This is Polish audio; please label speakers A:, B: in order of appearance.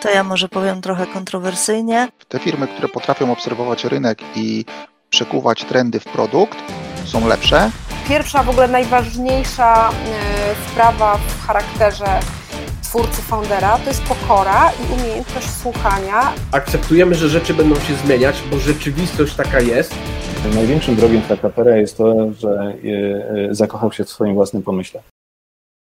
A: to ja może powiem trochę kontrowersyjnie.
B: Te firmy, które potrafią obserwować rynek i przekuwać trendy w produkt, są lepsze.
C: Pierwsza, w ogóle najważniejsza e, sprawa w charakterze twórcy foundera to jest pokora i umiejętność słuchania.
D: Akceptujemy, że rzeczy będą się zmieniać, bo rzeczywistość taka jest.
E: Największym drogiem dla kapera jest to, że e, e, zakochał się w swoim własnym pomyśle.